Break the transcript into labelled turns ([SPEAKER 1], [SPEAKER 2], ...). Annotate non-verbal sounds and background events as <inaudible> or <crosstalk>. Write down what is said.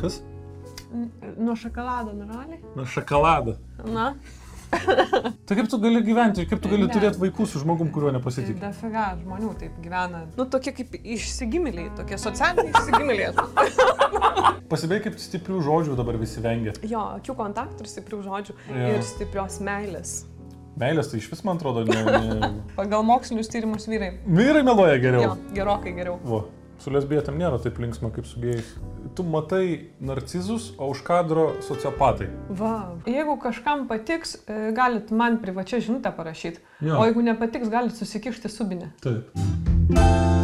[SPEAKER 1] Kas?
[SPEAKER 2] Nuo šokolado nuraliai?
[SPEAKER 1] Na, šokoladą.
[SPEAKER 2] Na,
[SPEAKER 1] Tai kaip tu gali gyventi, kaip tu gali
[SPEAKER 2] Ne.
[SPEAKER 1] turėti vaikų su žmogum, kuriuo
[SPEAKER 2] tai
[SPEAKER 1] nepasitikė?
[SPEAKER 2] dafiga žmonių taip gyvena. Nu, tokie kaip išsigimėliai, tokie socialiniai išsigimėliai.
[SPEAKER 1] Pasibėg kaip stiprių žodžių dabar visi vengia.
[SPEAKER 2] <laughs> jo, akių kontaktų ir stiprių žodžių
[SPEAKER 1] Jo.
[SPEAKER 2] ir stiprios meilės.
[SPEAKER 1] Meilės tai iš vis, man atrodo, ne... ne...
[SPEAKER 2] Pagal mokslinius tyrimus vyrai.
[SPEAKER 1] Vyrai meloja
[SPEAKER 2] Jo,
[SPEAKER 1] geriau.
[SPEAKER 2] gerokai geriau.
[SPEAKER 1] Va. Su lesbietėm nėra taip linksma kaip su gėjais. Tu matai narcizus, o už kadro sociopatai.
[SPEAKER 2] Va. Jeigu kažkam patiks, e, galit man privačią žinutę parašyti.
[SPEAKER 1] Jo.
[SPEAKER 2] O jeigu nepatiks, galit susikišti subinę.
[SPEAKER 1] Taip.